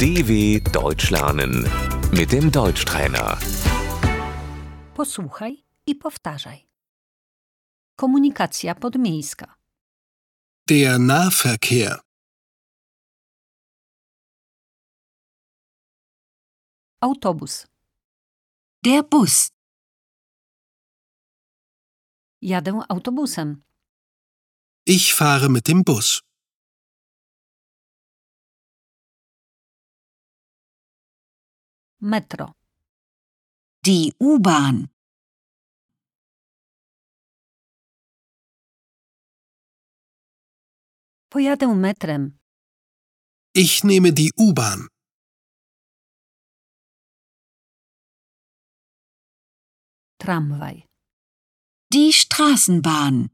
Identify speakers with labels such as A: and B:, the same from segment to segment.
A: DW Deutsch lernen mit dem Deutschtrainer.
B: Posłuchaj i powtarzaj. Komunikacja podmiejska.
C: Der Nahverkehr.
B: Autobus.
D: Der Bus,
B: Jadę autobusem.
C: Ich fahre mit dem Bus.
B: Metro.
D: die U-Bahn,
B: Pojadę metrem.
C: Ich nehme die U-Bahn.
B: Tramwaj.
D: die Straßenbahn,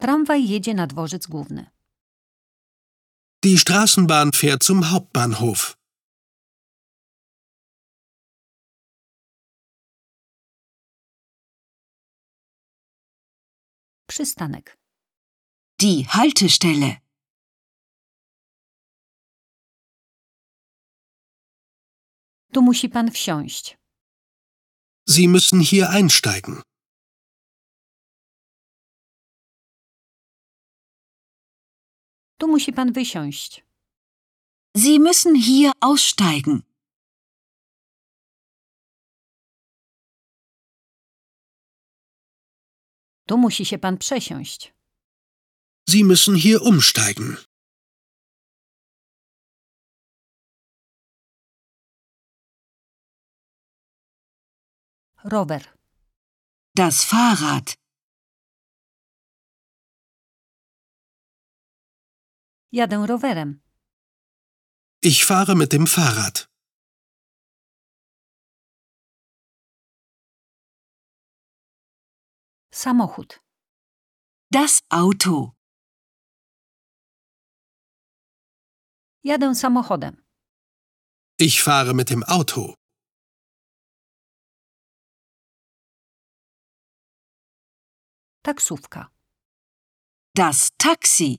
B: Tramwaj jedzie na dworzec główny.
C: Die Straßenbahn fährt zum Hauptbahnhof.
B: Przystanek.
D: die Haltestelle,
B: Tu musi pan wsiąść.
C: Sie müssen hier einsteigen.
B: Tu musi pan wysiąść.
D: Sie müssen hier aussteigen,
B: Tu musi się pan przesiąść.
C: Sie müssen hier umsteigen.
B: Rower.
D: das Fahrrad,
B: Jadę rowerem.
C: Ich fahre mit dem Fahrrad.
B: Samochód.
D: das Auto,
B: Jadę samochodem.
C: Ich fahre mit dem Auto.
B: Taksówka.
D: das Taxi.